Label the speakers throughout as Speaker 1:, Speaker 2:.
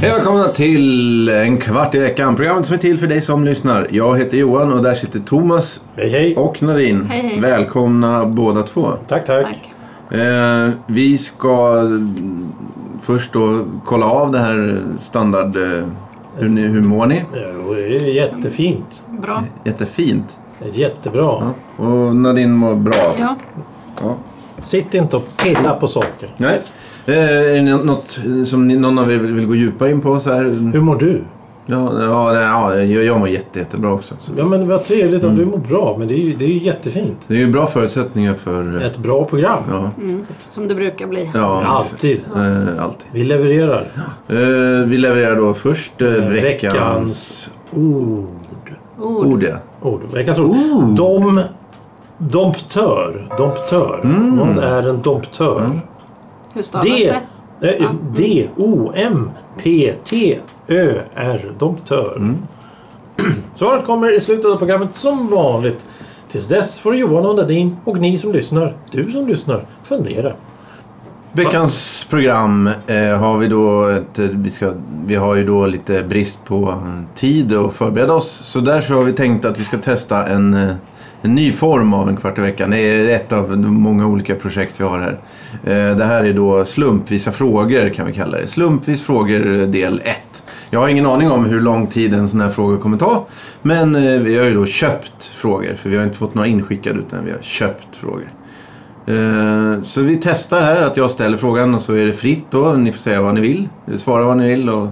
Speaker 1: Hej och välkomna till en kvart i veckan. Programmet som är till för dig som lyssnar. Jag heter Johan och där sitter Thomas
Speaker 2: Hej hej.
Speaker 1: och Nadine.
Speaker 3: Hej, hej.
Speaker 1: Välkomna båda två.
Speaker 2: Tack tack.
Speaker 3: Tack.
Speaker 1: Eh, vi ska mm, först då kolla av det här standard... Eh, hur, ni, hur mår ni?
Speaker 2: Jo, det är jättefint.
Speaker 3: Bra.
Speaker 1: Jättefint.
Speaker 2: Jättebra.
Speaker 1: Ja. Och Nadine mår bra.
Speaker 3: Ja.
Speaker 1: Ja.
Speaker 2: Sitt inte och pilla på saker.
Speaker 1: Nej. Eh, är det nå- något som ni, någon av er vill, vill gå djupare in på? Så här?
Speaker 2: Hur mår du?
Speaker 1: Ja, ja, nej, ja, jag, jag mår jätte, jättebra också. Så.
Speaker 2: Ja men vad trevligt att du mår bra. Men det är ju, det är ju jättefint.
Speaker 1: Det är ju bra förutsättningar för... eh,
Speaker 2: Ett bra program.
Speaker 1: Ja.
Speaker 3: Som det brukar bli.
Speaker 1: Ja,
Speaker 2: Alltid.
Speaker 1: exakt. Eh, alltid.
Speaker 2: Vi levererar.
Speaker 1: Eh, vi levererar då först eh, veckans,
Speaker 2: ord.
Speaker 3: Ord.
Speaker 1: ord. Ja.
Speaker 2: ord. Veckans ord. Dom... Domptör. Domptör. Någon är en domptör.
Speaker 3: Hur stavas
Speaker 2: D.
Speaker 3: det?
Speaker 2: eh, D. O. M. P. T. Ö. R. Domptör. Svaret kommer i slutet av programmet som vanligt. Tills dess får Johan och Nadine och ni som lyssnar, du som lyssnar, fundera.
Speaker 1: Veckans program eh, har vi då ett, eh, vi, ska, vi har ju då lite brist på eh, tid att förbereda oss. Så därför har vi tänkt att vi ska testa en, eh, en ny form av en kvart i veckan. Det är ett av de många olika projekt vi har här. Eh, det här är då slumpvisa frågor kan vi kalla det. Slumpvis frågor eh, del 1. Jag har ingen aning om hur lång tid en sån här fråga kommer ta. Men eh, vi har ju då köpt frågor. För vi har inte fått några inskickade utan vi har köpt frågor. Eh, Så vi testar här att jag ställer frågan och så är det fritt då. Ni får säga vad ni vill. Svara vad ni vill. Och,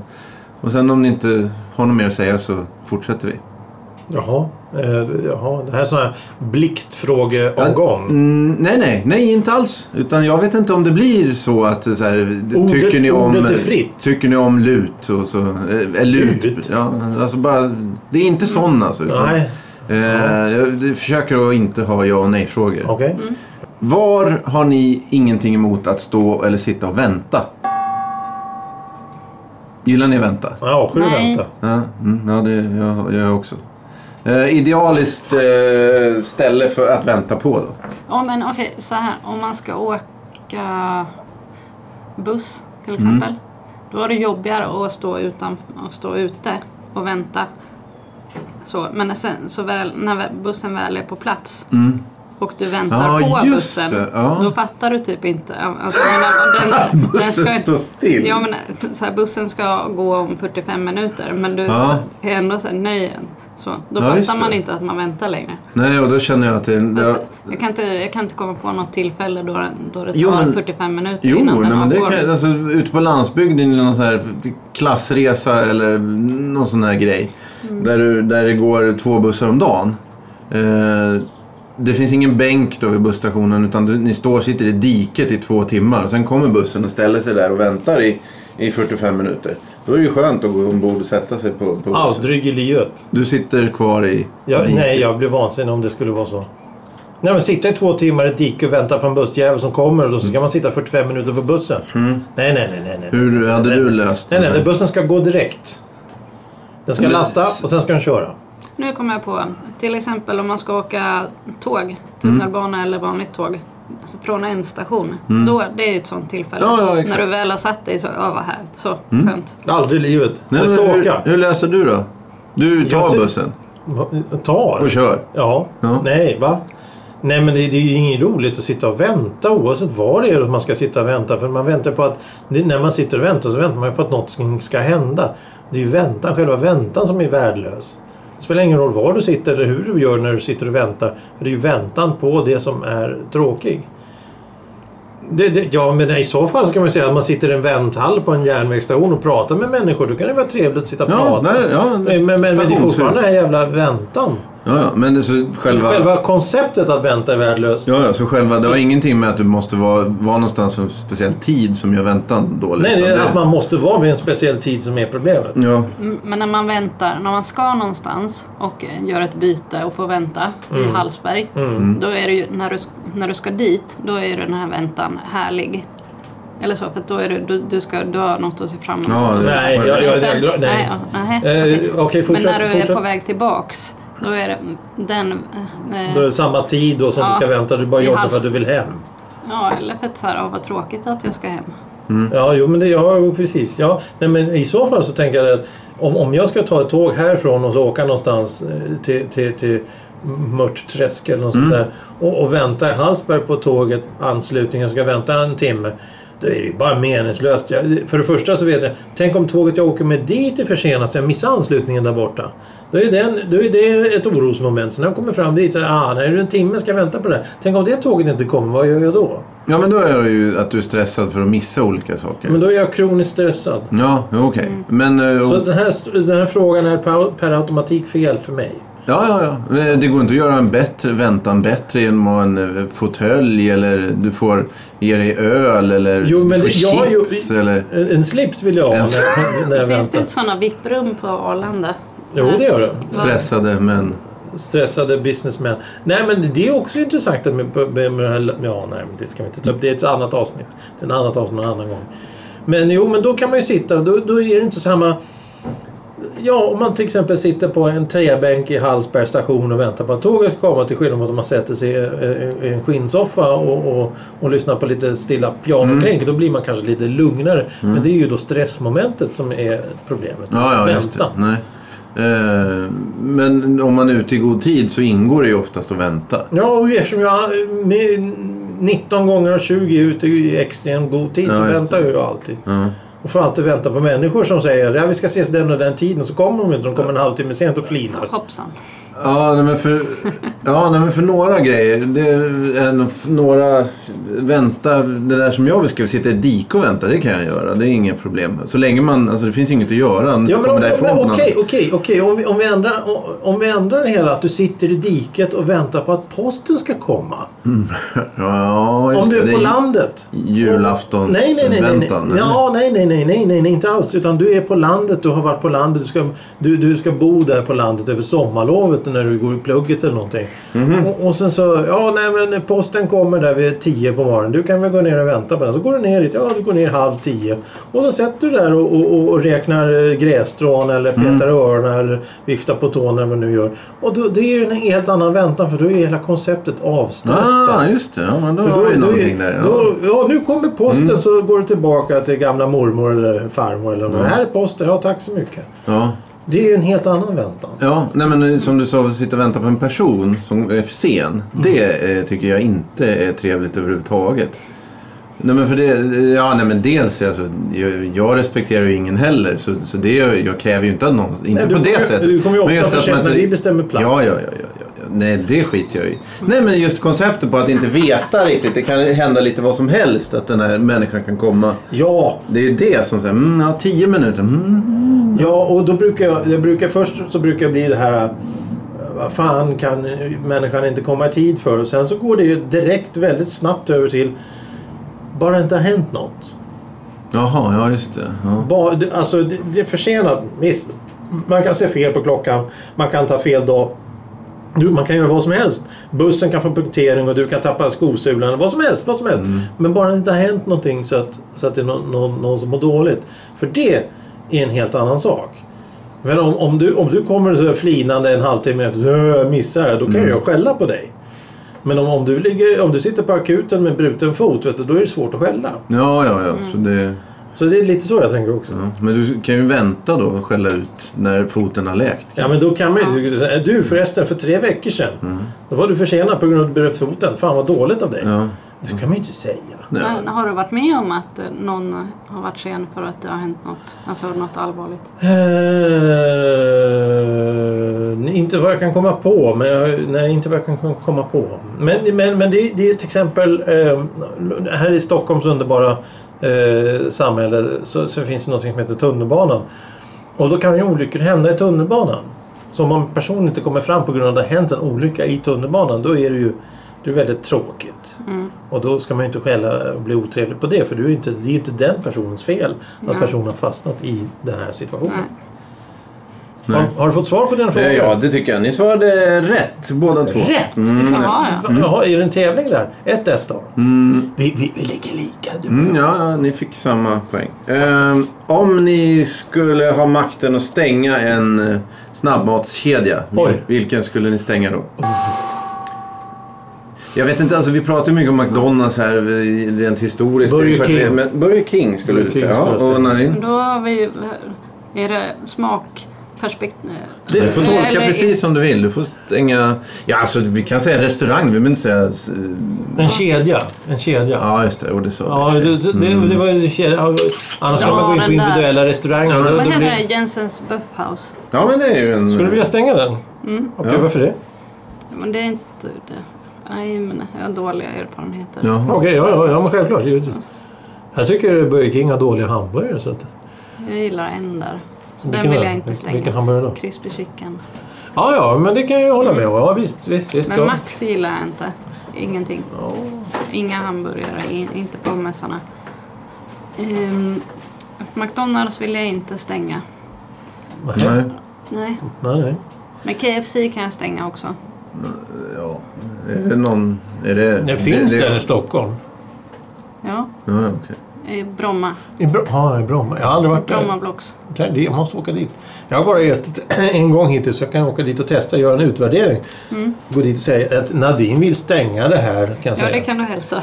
Speaker 1: och sen om ni inte har något mer att säga så fortsätter vi.
Speaker 2: Jaha, eh, jaha. det här är sån här blixtfrågeomgång.
Speaker 1: Mm, nej, nej, nej, inte alls. Utan jag vet inte om det blir så att så här, det-
Speaker 2: Ordet-
Speaker 1: tycker, ni om,
Speaker 2: ordet är fritt.
Speaker 1: tycker ni om lut och så. eh, eh, lut.
Speaker 2: Lut?
Speaker 1: Ja, alltså bara, det är inte sån alltså. utan,
Speaker 2: Nej,
Speaker 1: eh, Jag försöker att inte ha ja och nej-frågor.
Speaker 2: okej.
Speaker 1: Var har ni ingenting emot att stå eller sitta och vänta? Gillar ni vänta?
Speaker 2: Jag avskyr att
Speaker 3: Nej.
Speaker 2: vänta.
Speaker 1: Ja, mm, ja det gör jag, jag också. Eh, idealiskt eh, ställe för att vänta på då?
Speaker 3: Ja men okej så här. Om man ska åka buss till
Speaker 1: Mm.
Speaker 3: exempel. Då är det jobbigare att stå, utan, att stå ute och vänta. Så, men när sen, så väl, när vä- bussen väl är på plats och du väntar
Speaker 1: Mm. Ja,
Speaker 3: på
Speaker 1: just
Speaker 3: bussen.
Speaker 1: det. Ja.
Speaker 3: Då fattar du typ inte. Alltså, jag menar, den, den
Speaker 1: Bussen
Speaker 3: ska,
Speaker 1: står still.
Speaker 3: Ja, men så här, bussen ska gå om 45 minuter men du
Speaker 1: Ja.
Speaker 3: är ändå så här, nöjen. Så, då
Speaker 1: Ja, just
Speaker 3: fattar man
Speaker 1: det.
Speaker 3: inte att man väntar längre.
Speaker 1: Nej, och då känner jag att det...
Speaker 3: Alltså,
Speaker 1: det
Speaker 3: jag, kan inte, jag kan inte komma på något tillfälle då, den- då det tar
Speaker 1: Jo, men-
Speaker 3: 45 minuter
Speaker 1: Jo,
Speaker 3: innan
Speaker 1: nej,
Speaker 3: den
Speaker 1: men det
Speaker 3: avgår.
Speaker 1: kan, alltså, ute på landsbygden i någon sån här klassresa eller någon sån här grej.
Speaker 3: Mm.
Speaker 1: Där, du, där det går två bussar om dagen. Eh, det finns ingen bänk då vid busstationen utan du, ni står och sitter i diket i två timmar. Sen kommer bussen och ställer sig där och väntar i, i 45 minuter. Då är det ju skönt att gå ombord och sätta sig på, på bussen.
Speaker 2: Aldrig i livet.
Speaker 1: Du sitter kvar i
Speaker 2: Jag,
Speaker 1: diket.
Speaker 2: nej, jag blir vansinnig om det skulle vara så. Nej, men sitta i två timmar i ett dike och vänta på en bussjävel som kommer och då
Speaker 1: Mm.
Speaker 2: ska man sitta 45 minuter på bussen. Nej, nej, nej, nej. nej.
Speaker 1: Hur hade du löst
Speaker 2: Nej,
Speaker 1: det
Speaker 2: nej,
Speaker 1: här?
Speaker 2: nej, bussen ska gå direkt. Den ska
Speaker 1: Mm. Men-
Speaker 2: lasta och sen ska den köra.
Speaker 3: Nu kommer jag på, till exempel om man ska åka
Speaker 1: Mm.
Speaker 3: tåg, tunnelbana eller vanligt tåg. Alltså från en station. Då, det är ju ett sånt tillfälle.
Speaker 1: Mm. Ja, ja, exakt. Mm.
Speaker 3: när du väl har satt dig så, ja vad här, så skönt.
Speaker 2: Aldrig i livet.
Speaker 1: Nej,
Speaker 2: Den
Speaker 1: men
Speaker 2: ska
Speaker 1: hur,
Speaker 2: åka.
Speaker 1: hur löser du då? Du
Speaker 2: Jag
Speaker 1: tar
Speaker 2: ser-
Speaker 1: bussen
Speaker 2: Va- Tar.
Speaker 1: och kör.
Speaker 2: Ja.
Speaker 1: Ja.
Speaker 2: Nej, va? Nej, men det, det är ju inget roligt att sitta och vänta oavsett var det är att man ska sitta och vänta. För man väntar på att... det- När man sitter och väntar så väntar man ju på att något ska- ska hända. Det är ju väntan, själva väntan som är värdelös. Det spelar ingen roll var du sitter eller hur du gör när du sitter och väntar. För det är ju väntan på det som är tråkig. Det, det, ja, men i så fall så kan man ju säga att man sitter i en vänthall på en järnvägsstation och pratar med människor. Då kan det vara trevligt att sitta och
Speaker 1: Ja,
Speaker 2: prata.
Speaker 1: nej, ja,
Speaker 2: men, men, men det är fortfarande den här jävla väntan.
Speaker 1: Ja, ja, men det, så själva...
Speaker 2: Själva Alltså- konceptet att vänta är värdelöst.
Speaker 1: Ja, ja, så själva... Det har ingenting med att du måste vara, vara någonstans för en speciell tid som gör väntan dålig.
Speaker 2: Nej, det
Speaker 1: utan
Speaker 2: är att man måste vara vid en speciell tid som är problemet.
Speaker 1: Ja,
Speaker 3: Mm, Men när man väntar, när man ska någonstans och eh, gör ett byte och får vänta i
Speaker 2: Mm.
Speaker 3: Hallsberg. Då är det ju, när du, när du ska dit, då är ju den här väntan härlig. Eller så, för att då är du, du, du, ska, du har något att se fram emot.
Speaker 1: Ja, det-
Speaker 2: Nej, jag, jag, jag, jag,
Speaker 3: nej.
Speaker 2: nej.
Speaker 3: ja, nej,
Speaker 2: Eh,
Speaker 3: okej.
Speaker 2: Okej, fortsätt.
Speaker 3: Men när du
Speaker 2: fortsätt.
Speaker 3: är på väg tillbaks, då är det den... eh,
Speaker 2: Då är det samma tid då som
Speaker 3: Ja.
Speaker 2: du ska vänta. Du bara
Speaker 3: Vi
Speaker 2: jobbar
Speaker 3: har-
Speaker 2: för att du vill hem.
Speaker 3: Ja, eller för att så här, ja, vad tråkigt att jag ska hem.
Speaker 2: Ja, jo men det, ja, jo, precis. Ja, nej, men i så fall så tänker jag att om, om jag ska ta ett tåg härifrån och så åka någonstans eh, till, till, till Mörtträsk eller något sånt där och, och vänta i Hallsberg på tåget, anslutningen, ska vänta en timme. Då är det ju bara meningslöst. Jag, för det första så vet jag, tänk om tåget jag åker med dit är försenat så jag missar anslutningen där borta. Då är, den, då är det ett orosmoment. Så när jag kommer fram dit, så är det, ah, när det är en timme ska jag vänta på det. här. Tänk om det tåget inte kommer, vad gör jag då?
Speaker 1: Ja, men då är det ju att du är stressad för att missa olika saker.
Speaker 2: Men då är jag kroniskt stressad.
Speaker 1: Ja, jo, okej. Men... eh,
Speaker 2: Så
Speaker 1: och-
Speaker 2: den här, den här frågan är per, per automatik fel för mig.
Speaker 1: Ja, ja, ja. Men Det går inte att göra en bättre väntan bättre genom att ha en eh, fåtölj eller du får ge dig öl eller
Speaker 2: Jo,
Speaker 1: du
Speaker 2: men
Speaker 1: får
Speaker 2: det- jag- jo,
Speaker 1: chips eller...
Speaker 2: En, en slips vill jag ha
Speaker 1: En-
Speaker 2: när, när jag
Speaker 3: Finns det
Speaker 2: väntar.
Speaker 3: inte sådana VIP-rum på Arlanda?
Speaker 2: Jo, det gör det.
Speaker 1: Stressade men...
Speaker 2: Stressade businessmän. Nej, men det är också intressant att med, med, med den här... Ja, nej, men det ska vi inte ta upp. Det är ett annat avsnitt. Det är ett annat avsnitt en annan gång. Men jo, men då kan man ju sitta. Då, då är det inte samma... Ja, om man till exempel sitter på en träbänk i Hallsberg station och väntar på att tåget ska komma till skillnad mot om man sätter sig i en- i en skinnsoffa och, och, och lyssnar på lite stilla pianoklänk.
Speaker 1: Mm.
Speaker 2: Då blir man kanske lite lugnare. Men det är ju då stressmomentet som är problemet.
Speaker 1: Ja, ja, just det.
Speaker 2: Väntan.
Speaker 1: Nej. Eh, Men om man är ute i god tid så ingår det ju oftast att vänta.
Speaker 2: Ja, och eftersom jag eh, med 19 gånger av 20 är ute i extremt god tid så
Speaker 1: Ja, just
Speaker 2: väntar jag ju alltid.
Speaker 1: Ja.
Speaker 2: Och får alltid vänta på människor som säger att ja, vi ska ses den och den tiden så kommer de inte. De kommer en halvtimme sent och flinar.
Speaker 3: Hoppsan.
Speaker 1: Ja, nej, men för, ja nej, men för några grejer. Det är nog f- några vänta. Det där som jag beskrev, sitta i ett dike och vänta, det kan jag göra. Det är inga problem. Så länge man, alltså det finns ju inget att göra. när
Speaker 2: Ja,
Speaker 1: du
Speaker 2: men,
Speaker 1: kommer
Speaker 2: om,
Speaker 1: därifrån
Speaker 2: men,
Speaker 1: på något-
Speaker 2: okej, okej, okej. Om, vi, om, vi ändrar, om- om vi ändrar det hela att du sitter i diket och väntar på att posten ska komma.
Speaker 1: Ja, just
Speaker 2: Om du
Speaker 1: det.
Speaker 2: är på
Speaker 1: det
Speaker 2: landet.
Speaker 1: julaftonsväntan,
Speaker 2: Nej, nej, nej. nej, nej.
Speaker 1: eller?
Speaker 2: Ja, nej, nej, nej, nej, nej, nej, inte alls. Utan du är på landet, du har varit på landet, du ska, du, du ska bo där på landet över sommarlovet när du går i plugget eller någonting.
Speaker 1: Mhm.
Speaker 2: Och, och sen så, ja, nej, men posten kommer där vid tio på morgonen. Du kan väl gå ner och vänta på den. Så går du ner dit, ja, du går ner halv tio. Och så sätter du där och, och, och, och räknar eh, grässtrån eller petar
Speaker 1: Mm.
Speaker 2: öronen eller viftar på tårna eller vad du nu gör. Och då, det är ju en helt annan väntan för då är hela konceptet avstressat.
Speaker 1: Ah, just det. Ja, men då
Speaker 2: För
Speaker 1: har vi någonting där. ja. Mm.
Speaker 2: då, ja, nu kommer posten så går du tillbaka till gamla mormor eller farmor eller något. Här är posten, ja tack så mycket.
Speaker 1: Ja.
Speaker 2: Det är ju en helt annan väntan.
Speaker 1: Ja, nej men eh, som du sa, att sitta och vänta på en person som är för sen.
Speaker 2: Mm.
Speaker 1: Det eh, tycker jag inte är trevligt överhuvudtaget. Nej men för det, eh, ja nej men dels alltså, jag, jag respekterar ju ingen heller så, så det, jag kräver ju inte att någon, inte
Speaker 2: Nej, du
Speaker 1: på det
Speaker 2: kommer-
Speaker 1: sättet.
Speaker 2: du kommer ju
Speaker 1: Men just
Speaker 2: ofta
Speaker 1: att
Speaker 2: för sent
Speaker 1: man
Speaker 2: när
Speaker 1: inte-
Speaker 2: vi bestämmer plats.
Speaker 1: Ja, ja, ja, ja, ja, ja. Nej, det skiter jag i. Nej men just konceptet på att inte veta riktigt. Det kan hända lite vad som helst att den här människan kan komma.
Speaker 2: Ja,
Speaker 1: Det är ju det som säger, mm, ja, tio minuter, mm.
Speaker 2: ja och då brukar jag, jag brukar först så brukar jag bli det här eh, vad fan kan människan inte komma i tid för? Och sen så går det ju direkt väldigt snabbt över till bara det inte har hänt något.
Speaker 1: Jaha, ja just det. Ja.
Speaker 2: Ba, det- alltså det, det är försenat. Visst, man kan se fel på klockan. Man kan ta fel dag. Du, man kan göra vad som helst. Bussen kan få punktering och du kan tappa skosulan. Vad som helst, vad som helst. Men bara det inte har hänt någonting så att, så att det är någon, någon, någon som mår dåligt. För det är en helt annan sak. Men om, om, du, om du kommer så här flinande en halvtimme efter så "Ö, jag missar det här", då kan jag skälla på dig. Men om, om, du ligger, om du sitter på akuten med bruten fot, vet du, då är det svårt att skälla.
Speaker 1: Ja, ja, ja. Så det...
Speaker 2: Så det är lite så jag tänker också.
Speaker 1: Ja, men du kan ju vänta då och skälla ut när foten har läkt.
Speaker 2: Ja men då kan man ju inte säga Du förresten, för tre veckor sedan. Då var du försenad på grund av att du bröt foten. Fan vad dåligt av dig.
Speaker 1: Ja.
Speaker 2: Det kan man ju inte säga.
Speaker 1: Ja.
Speaker 3: Men har du varit med om att eh, någon har varit sen för att det har hänt något, alltså något allvarligt?
Speaker 2: Eh, inte vad jag kan komma på. Men jag, nej, inte vad jag kan komma på. Men, men, men det, det är till exempel eh, här i Stockholms underbara eh, samhälle så, så finns det något som heter tunnelbanan. Och då kan ju olyckor hända i tunnelbanan. Så om en person inte kommer fram på grund av att det har hänt en olycka i tunnelbanan då är det ju det är väldigt tråkigt.
Speaker 3: Mm.
Speaker 2: Och då ska man ju inte skälla och bli otrevlig på det för det är ju inte, det är ju inte den personens fel att
Speaker 3: Nej.
Speaker 2: personen har fastnat i den här situationen.
Speaker 3: Nej.
Speaker 2: Har, har du fått svar på dina
Speaker 1: Eh,
Speaker 2: frågor?
Speaker 1: Ja, det tycker jag. Mm. Ni svarade rätt båda två.
Speaker 2: Rätt!
Speaker 3: Ja, ja.
Speaker 2: Jaha, är det en tävling där? 1-1 då? Vi, vi, vi ligger lika du
Speaker 1: Mm, ja, ja, ni fick samma poäng. Ehm, om ni skulle ha makten att stänga en eh, snabbmatskedja, vil-
Speaker 2: Oj.
Speaker 1: vilken skulle ni stänga då? Jag vet inte, alltså vi pratar ju mycket om McDonalds här eh, rent historiskt.
Speaker 2: Burger King.
Speaker 1: Men Burger King skulle
Speaker 2: Burger
Speaker 1: du
Speaker 2: King
Speaker 1: säga. Ja,
Speaker 2: skulle jag säga.
Speaker 1: och Narin?
Speaker 3: Men Då har vi ju... eh, Är det eh, smakperspektiv?
Speaker 1: Du får tolka
Speaker 3: Eller-
Speaker 1: precis som du vill. Du får stänga... Ja, alltså vi kan säga restaurang, vi behöver inte säga... s- eh,
Speaker 2: En kedja. En kedja. Ja.
Speaker 1: Ja, just det. Och det sa du.
Speaker 2: det, det, det var ju en kedja. Ja, Annars kan
Speaker 3: Ja,
Speaker 2: man gå in på
Speaker 3: den där.
Speaker 2: individuella restauranger. Då- då
Speaker 3: Vad heter
Speaker 2: blir-
Speaker 3: det? Jensens Buffhouse?
Speaker 1: Ja, men det är ju en...
Speaker 2: Skulle du vilja stänga den?
Speaker 3: Mm.
Speaker 2: Okej,
Speaker 1: Ja.
Speaker 2: varför det?
Speaker 3: Men det är inte det. Nej, men jag har dåliga erfarenheter.
Speaker 1: Jaha.
Speaker 2: Okej, ja, ja, ja, men självklart. givetvis. Jag tycker Burger King har dåliga hamburgare. Så att,
Speaker 3: Jag gillar en där. Så
Speaker 2: Vilken
Speaker 3: den vill
Speaker 2: då?
Speaker 3: jag inte
Speaker 2: Vilken-
Speaker 3: stänga.
Speaker 2: vilken hamburgare då?
Speaker 3: Crispy chicken.
Speaker 2: ja, ja, men det kan jag ju hålla med om. Ja, visst, visst. visst
Speaker 3: Men
Speaker 2: ja.
Speaker 3: Max gillar jag inte. Ingenting. Inga hamburgare, in, inte på mässorna. Ehm, McDonalds vill jag inte stänga.
Speaker 2: Nej,
Speaker 1: Nej.
Speaker 3: Nej.
Speaker 2: nej. nej.
Speaker 3: Men KFC kan jag stänga också.
Speaker 1: Ja, är det någon... Är det,
Speaker 2: Det finns
Speaker 1: det,
Speaker 2: det, i Stockholm.
Speaker 3: Ja,
Speaker 1: Ja, okej.
Speaker 3: eh, Bromma.
Speaker 2: I Bro- ja, i Bromma. Jag har aldrig varit där.
Speaker 3: Bromma Blocks.
Speaker 2: Där, det- Jag måste åka dit. Jag har bara ätit en gång hittills så jag kan åka dit och testa göra en utvärdering. Gå dit och säga att Nadine vill stänga det här kan jag
Speaker 3: Mm. Ja, det
Speaker 2: säga.
Speaker 3: kan du hälsa.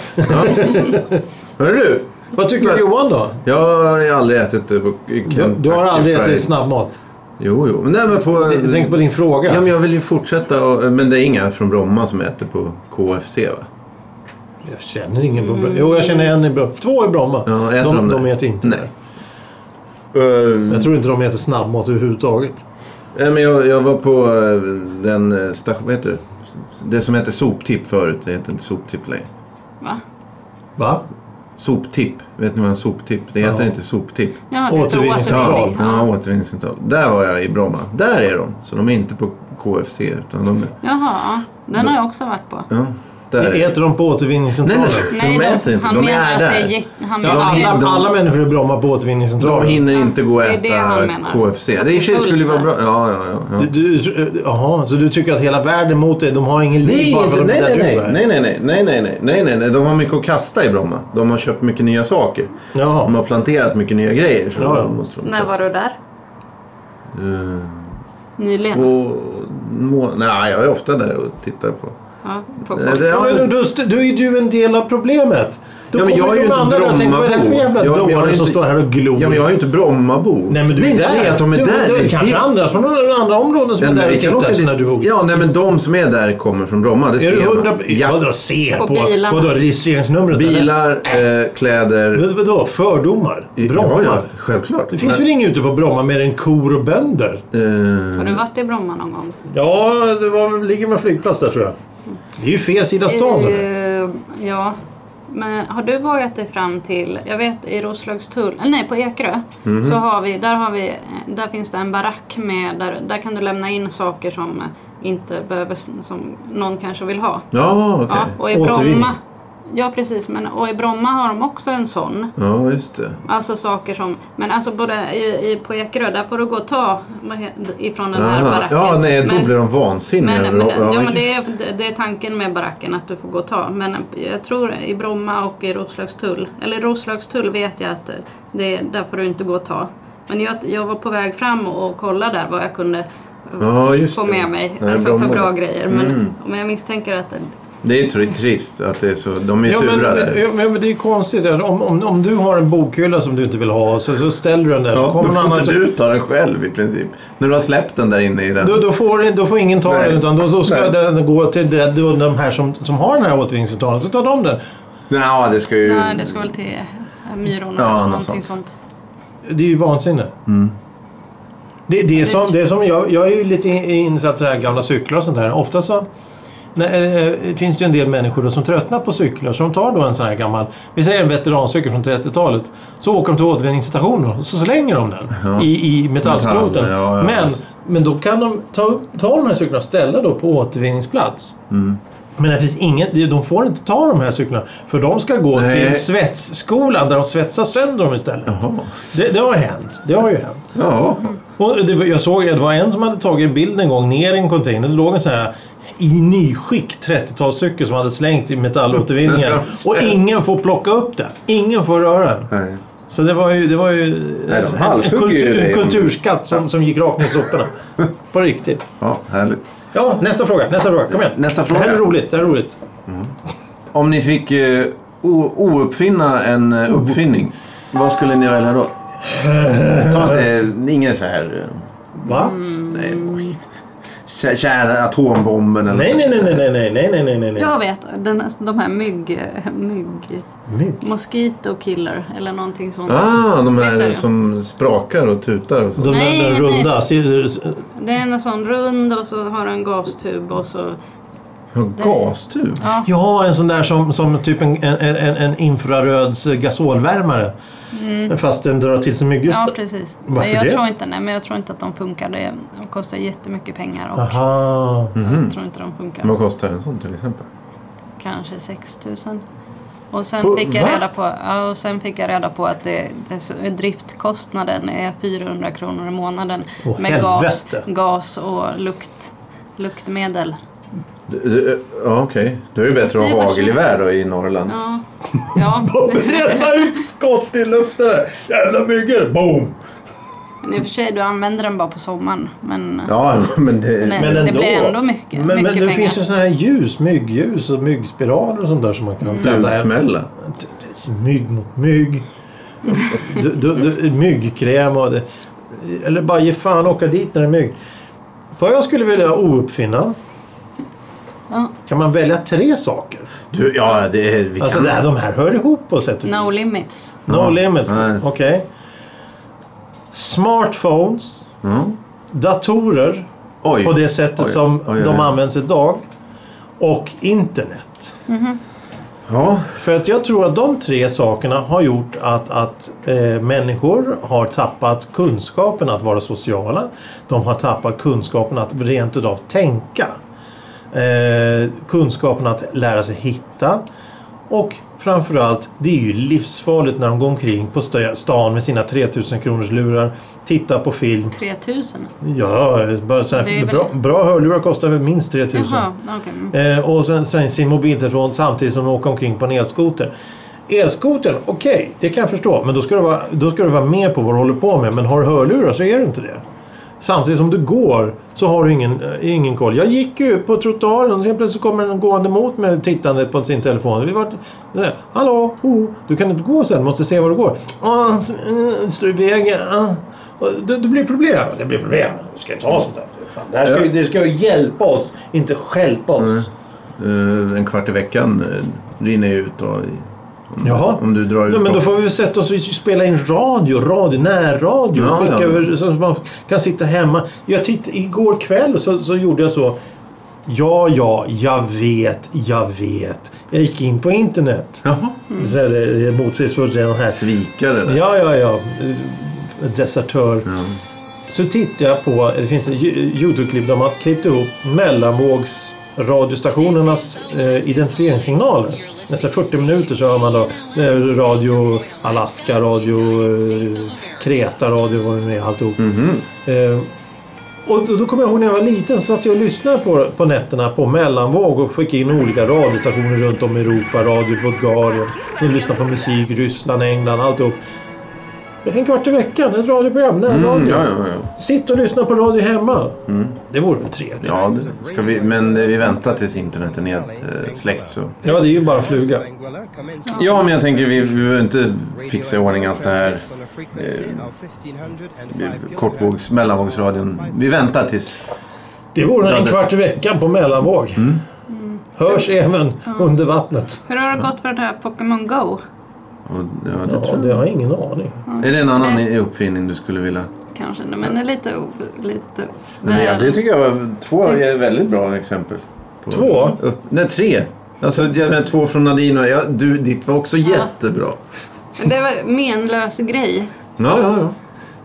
Speaker 1: Hörru du!
Speaker 2: Vad tycker du Johan då?
Speaker 1: Jag har ju aldrig ätit det på
Speaker 2: Du,
Speaker 1: Kentucky
Speaker 2: du har aldrig
Speaker 1: Fried.
Speaker 2: ätit snabbmat?
Speaker 1: Jo, jo. Men Nej, men på...
Speaker 2: Jag tänker på din fråga.
Speaker 1: Mm. Ja, men jag vill ju fortsätta och, Men det är inga från Bromma som äter på KFC va?
Speaker 2: Jag känner ingen på
Speaker 3: Mm.
Speaker 2: Bromma. Jo, jag känner en i Bromma. Två i Bromma.
Speaker 1: Ja, äter
Speaker 2: de,
Speaker 1: de, det?
Speaker 2: äter inte
Speaker 1: Nej. Ehm,
Speaker 2: Jag tror inte de äter snabbmat överhuvudtaget.
Speaker 1: nej, Eh, men jag, jag var på eh, den station... Vad heter det? Det som hette soptipp förut. Det heter inte soptipp längre.
Speaker 3: Va?
Speaker 2: Va?
Speaker 1: Soptipp. Vet ni vad en soptipp? Det heter
Speaker 2: Ja.
Speaker 1: inte soptipp.
Speaker 3: Ja, det heter
Speaker 2: Återvinningscentral.
Speaker 3: återvinning.
Speaker 1: Ja,
Speaker 3: Ja.
Speaker 1: återvinningscentral. Där var jag i Bromma. Där är de. Så de är inte på KFC utan de är...
Speaker 3: Jaha, ja. den har jag också varit på.
Speaker 1: Ja, där är
Speaker 2: Äter de på
Speaker 1: Nej,
Speaker 2: återvinningscentralen?
Speaker 1: nej, nej, de äter inte.
Speaker 3: han
Speaker 1: De
Speaker 3: menar
Speaker 1: är
Speaker 3: att det är
Speaker 1: där.
Speaker 3: jätte... Han
Speaker 2: Så
Speaker 1: de
Speaker 3: menar
Speaker 1: hinner-
Speaker 2: alla,
Speaker 1: de-
Speaker 2: alla människor i Bromma på
Speaker 1: De
Speaker 2: återvinningscentralen?
Speaker 1: hinner inte gå och
Speaker 3: Det är det
Speaker 1: äta
Speaker 3: han menar.
Speaker 1: KFC. Det i och för sig skulle ju vara bra. Ja, ja, ja. ja.
Speaker 2: Du, du, jaha, så du tycker att hela världen mot dig, de har ingen liv
Speaker 1: Nej,
Speaker 2: bara
Speaker 1: inte,
Speaker 2: för att
Speaker 1: nej,
Speaker 2: de
Speaker 1: nej, nej,
Speaker 2: där du är?
Speaker 1: nej, nej, nej, nej, nej, nej, nej, nej, nej, de har mycket att kasta i Bromma. De har köpt mycket nya saker.
Speaker 2: Jaha.
Speaker 1: De har planterat mycket nya grejer. Så
Speaker 2: Ja, ja.
Speaker 1: de måste de
Speaker 3: När var
Speaker 1: kasta.
Speaker 3: du där?
Speaker 1: Eh,
Speaker 3: Nyligen?
Speaker 1: och, må, nej, jag är ofta där och tittar på.
Speaker 3: Ja, på
Speaker 1: Eh, det-
Speaker 2: Ja, men då, då är du en del av problemet. Då
Speaker 1: Ja, men jag är
Speaker 2: kommer
Speaker 1: ju
Speaker 2: de
Speaker 1: inte
Speaker 2: andra där och tänker vad är det här för
Speaker 1: Brommabo.
Speaker 2: jävla
Speaker 1: Ja, men jag är
Speaker 2: dåre som
Speaker 1: inte-
Speaker 2: står här och glor?
Speaker 1: Ja, men jag är ju inte Brommabo.
Speaker 2: Nej men du är
Speaker 1: nej,
Speaker 2: där.
Speaker 1: Nej, att de är
Speaker 2: du,
Speaker 1: där.
Speaker 2: Du,
Speaker 1: det är
Speaker 2: kanske
Speaker 1: helt-
Speaker 2: andra från andra områden som
Speaker 1: Ja,
Speaker 2: är där
Speaker 1: nej,
Speaker 2: och
Speaker 1: vi kan åka
Speaker 2: tittar
Speaker 1: dit.
Speaker 2: när du åker.
Speaker 1: Ja, nej, men de som är där kommer från Bromma. Det
Speaker 2: Är
Speaker 1: ser
Speaker 2: du
Speaker 1: man.
Speaker 2: hundra...
Speaker 1: Ja.
Speaker 2: Vadå se
Speaker 3: På
Speaker 2: på?
Speaker 3: bilarna.
Speaker 2: Vadå registreringsnumret? eller?
Speaker 1: Bilar, eh, kläder.
Speaker 2: Vad- Vadå fördomar? Bromma?
Speaker 1: Ja, ja, självklart.
Speaker 2: Det finns väl inget ute på Bromma mer än kor och bönder?
Speaker 3: Har
Speaker 1: Eh,
Speaker 3: du varit i Bromma någon gång?
Speaker 2: Ja, det var, ligger med flygplats där tror jag. Det är ju fel sida stan. eller?
Speaker 3: Eh, ja. Men har du vågat dig fram till, jag vet i Roslagstull, eller nej på Ekerö,
Speaker 1: Mhm.
Speaker 3: så har vi, där, har vi, där finns det en barack med, där, där kan du lämna in saker som inte behöver, som någon kanske vill ha.
Speaker 1: Ja, okej.
Speaker 3: Ja, och i
Speaker 2: Återvinning.
Speaker 3: Bromma, ja precis, men och i Bromma har de också en sån.
Speaker 1: Ja, just det.
Speaker 3: Alltså saker som, men alltså både i, i, på Ekerö, där får du gå och ta vad he- ifrån den här
Speaker 1: Aha.
Speaker 3: baracken.
Speaker 1: ja, nej, då
Speaker 3: men,
Speaker 1: blir de vansinniga.
Speaker 3: men,
Speaker 1: över-
Speaker 3: men, ja, men det,
Speaker 1: just-
Speaker 3: är, det är tanken med baracken att du får gå och ta. Men jag tror i Bromma och i Roslagstull, eller i Roslagstull vet jag att det, är- där får du inte gå och ta. Men jag, jag var på väg fram och kollade där vad jag kunde eh,
Speaker 1: Ja, just
Speaker 3: få
Speaker 1: det.
Speaker 3: med mig.
Speaker 1: Nej,
Speaker 3: alltså för
Speaker 1: Bromma. Mm.
Speaker 3: bra grejer. Men, men jag misstänker att
Speaker 1: Det är tr- trist att det är så. De är
Speaker 2: Ja, men,
Speaker 1: sura där.
Speaker 2: men, ja, men det är ju konstigt. Om, om, om du har en bokhylla som du inte vill ha så, så ställer du den där. så
Speaker 1: Ja, då
Speaker 2: kommer någon
Speaker 1: får
Speaker 2: annan,
Speaker 1: inte du ta den själv i princip. När du har släppt den där inne i den.
Speaker 2: Då, då, får, då får ingen ta
Speaker 1: Nej.
Speaker 2: den utan då, då ska
Speaker 1: Nej.
Speaker 2: den gå till det, då, de här som, som har den här återvinningscentralen. Så tar de den.
Speaker 1: Nej, det ska ju...
Speaker 3: nej, det ska väl till eh, Myrorna
Speaker 1: Ja,
Speaker 3: eller
Speaker 1: något
Speaker 3: någonting
Speaker 1: sånt.
Speaker 3: sånt.
Speaker 2: Det är ju vansinne.
Speaker 1: Mm.
Speaker 2: Det, det är som, det är som jag, jag är ju lite in- insatt i det här gamla cyklar och sånt där. Ofta så när, eh, finns det ju en del människor då som tröttnar på cyklar. Så de tar då en sån här gammal, vi säger en veterancykel från 30-talet. Så åker de till återvinningsstationen och så slänger de den i, i metallskroten.
Speaker 1: Metall, ja, ja,
Speaker 2: men,
Speaker 1: visst. Mm.
Speaker 2: men då kan de ta, upp- ta de här cyklarna och ställa då på återvinningsplats. Men det finns inget, de får inte ta de här cyklarna. För de ska gå
Speaker 1: Nej.
Speaker 2: till svetsskolan där de svetsar sönder dem istället.
Speaker 1: Jaha.
Speaker 2: Det, det har hänt. Det har ju hänt.
Speaker 1: Ja.
Speaker 2: Och det, var- jag såg det var en som hade tagit en bild en gång ner i en container. Det låg en sån här i nyskick 30-talscykel som hade slängt i metallåtervinningen. Och ingen får plocka upp den. Ingen får röra den.
Speaker 1: Nej.
Speaker 2: Så det var ju, det var ju
Speaker 1: Nej, de
Speaker 2: en,
Speaker 1: halshugger ju
Speaker 2: kultur,
Speaker 1: dig.
Speaker 2: en kulturskatt som, som gick rakt ner i soporna. På riktigt.
Speaker 1: Ja, härligt.
Speaker 2: Ja, nästa fråga. Nästa fråga. Kom igen.
Speaker 1: Nästa
Speaker 2: Det här är
Speaker 1: fråga.
Speaker 2: roligt. Det här är roligt.
Speaker 1: Om ni fick eh, o- ouppfinna en eh, uppfinning, vad skulle ni välja då? Ta inte, inget så här...
Speaker 2: Va?
Speaker 3: Mm.
Speaker 1: eh, Nej, oj. Kä- Kära atombomben eller
Speaker 2: Nej, nej, nej, nej, nej, nej, nej, nej, nej, nej.
Speaker 3: Jag vet, den, de här mygg... mygg
Speaker 2: Mygg.
Speaker 3: mosquito killer eller någonting sånt.
Speaker 1: Ah, de
Speaker 3: Vet
Speaker 1: här
Speaker 3: du?
Speaker 1: som sprakar och tutar och
Speaker 2: De
Speaker 1: sånt.
Speaker 2: där,
Speaker 3: Nej,
Speaker 2: där
Speaker 3: nej.
Speaker 2: runda. ser-
Speaker 3: Det är en sån rund och så har du en gastub och så...
Speaker 1: Och Gastub?
Speaker 3: Ja,
Speaker 2: Ja, en sån där som, som typ en, en, en, en infraröds gasolvärmare. Fast den drar till sig myggor.
Speaker 3: Mm. ja precis.
Speaker 2: Varför
Speaker 3: Men jag
Speaker 2: det?
Speaker 3: tror inte, nej, men jag tror inte att de funkar. Det de kostar jättemycket pengar och
Speaker 2: Aha. Mm.
Speaker 3: jag tror inte de funkar.
Speaker 1: Vad kostar en sån till exempel?
Speaker 3: Kanske 6 000. Och
Speaker 1: På-
Speaker 3: sen, fick jag
Speaker 1: va?
Speaker 3: reda på, ja, och sen fick jag reda på att det, det, är så- driftkostnaden är 400 kronor i månaden
Speaker 2: Åh,
Speaker 3: med gas,
Speaker 2: helvete.
Speaker 3: gas och lukt, luktmedel.
Speaker 1: D- d- eh, Ja, okej. Då är det bättre att
Speaker 3: Det är
Speaker 1: ha
Speaker 3: bara
Speaker 1: hagelgevär då i Norrland.
Speaker 3: Ja, ja.
Speaker 2: Bränna ut skott i luften! Jävla myggor! Boom!
Speaker 3: Men i och för sig, du använder den bara på sommaren. Men,
Speaker 1: Ja, men det...
Speaker 3: men,
Speaker 2: Men
Speaker 3: det
Speaker 2: ändå.
Speaker 3: blir ändå mycket,
Speaker 2: Men, men
Speaker 3: mycket
Speaker 2: det
Speaker 3: pengar.
Speaker 2: finns ju såna här ljus, myggljus och myggspiraler och sånt där som man
Speaker 1: Mm.
Speaker 2: kan tända.
Speaker 1: Flugsmälla.
Speaker 2: Mygg mot mygg. du, du, du, myggkräm och det. Eller bara ge fan åka dit när det är mygg. Vad jag skulle vilja ouppfinna.
Speaker 3: Ja.
Speaker 2: Kan man välja tre saker?
Speaker 1: Du, ja, det är... Vi
Speaker 2: Alltså
Speaker 1: kan...
Speaker 2: det här, de här hör ihop på sätt och
Speaker 3: No
Speaker 2: vis.
Speaker 3: limits.
Speaker 2: No
Speaker 1: Ja.
Speaker 2: limit.
Speaker 1: Nice.
Speaker 2: Okej. Smartphones.
Speaker 1: Ja.
Speaker 2: Datorer.
Speaker 1: Mm. Oj.
Speaker 2: På det sättet
Speaker 1: Oj.
Speaker 2: som
Speaker 1: Oj, oj,
Speaker 2: de
Speaker 1: oj.
Speaker 2: används idag. Och internet.
Speaker 1: Ja.
Speaker 2: För att jag tror att de tre sakerna har gjort att, att eh, människor har tappat kunskapen att vara sociala. De har tappat kunskapen att rent utav tänka. Eh, kunskapen att lära sig hitta. Och framförallt, det är ju livsfarligt när de går omkring på stö- stan med sina 3000 kronors lurar, tittar på film.
Speaker 3: 3000?
Speaker 2: Ja, bara så
Speaker 3: Det är
Speaker 2: här,
Speaker 3: väl-
Speaker 2: bra, bra hörlurar kostar väl minst 3000.
Speaker 3: Jaha, okej. Mm.
Speaker 2: Eh, och sen, sen sin mobiltelefon samtidigt som de åker omkring på en elskoter. Elskotern, okej, det kan jag förstå. Men då ska, du vara, då ska du vara med på vad du håller på med. Men har du hörlurar så är du inte det. Samtidigt som du går så har du ingen, eh, ingen koll. Jag gick ju ut på trottoaren och helt plötsligt kommer en gående mot mig tittande på sin telefon. Vi var, sådär, Hallå, oh, du kan inte gå sen, du måste se var du går. Ah, s- eh, står i vägen. Ah. Och Det, det blir problem. Det blir problem. Du ska inte ha sånt där. Fan, det, här ska ju, det ska ju hjälpa oss, inte stjälpa oss.
Speaker 1: Eh, en kvart i veckan uh, rinner jag ut och...
Speaker 2: Jaha.
Speaker 1: Om du drar ut...
Speaker 2: Ja, men då
Speaker 1: på-
Speaker 2: får vi väl sätta oss och spela in radio, radio närradio.
Speaker 1: Ja,
Speaker 2: skicka
Speaker 1: ja.
Speaker 2: Över, så att man kan sitta hemma. Jag titt, igår kväll så, så gjorde jag så. Ja, ja, jag vet, jag vet. Jag gick in på internet.
Speaker 1: Jaha.
Speaker 2: Så här, det är motsägelsefullt redan här.
Speaker 1: Svikare där.
Speaker 2: Ja, ja, ja. Desertör. Så tittar jag på, det finns en Yo- Youtube-klipp där man har klippt ihop mellanvågs radiostationernas eh, identifieringssignaler. Nästan 40 minuter så hör man då eh, radio Alaska, radio eh, Kreta, radio vad det nu är alltihop. Eh, och då, då kommer jag ihåg när jag var liten så att jag lyssnade på, på nätterna på mellanvåg och fick in olika radiostationer runt om i Europa. Radio Bulgarien. Jag lyssnade på musik, Ryssland, England, alltihop. En kvart i veckan, ett radioprogram, närradio.
Speaker 1: Mm, ja, Mm. ja, ja.
Speaker 2: Sitt och lyssna på radio hemma. Det vore väl trevligt?
Speaker 1: Ja, det ska vi, men eh, vi väntar tills internet är nedsläckt så.
Speaker 2: Ja, det är ju bara en fluga.
Speaker 1: Ja, men jag tänker vi, vi behöver inte fixa i ordning allt det här. eh, Kortvågs, mellanvågsradion. Vi väntar tills...
Speaker 2: Det vore
Speaker 1: Ja,
Speaker 2: en
Speaker 1: det- Mm.
Speaker 2: kvart i veckan på mellanvåg. Hörs även under vattnet.
Speaker 3: Hur har det gått för det här Pokémon Go?
Speaker 1: Och, ja, det
Speaker 2: Ja,
Speaker 1: tror
Speaker 2: det har jag ingen aning.
Speaker 1: jag. Är det en annan uppfinning du skulle vilja?
Speaker 3: Kanske, men är lite... o- lite
Speaker 1: Nej, ja, det tycker jag var två
Speaker 3: Det-
Speaker 1: är väldigt bra exempel. På,
Speaker 2: Två?
Speaker 1: Upp, nej, tre. Alltså, jag menar, två från Nadine och jag, du, ditt var också jättebra.
Speaker 3: Men det var en menlös grej.
Speaker 1: Ja, ja, ja.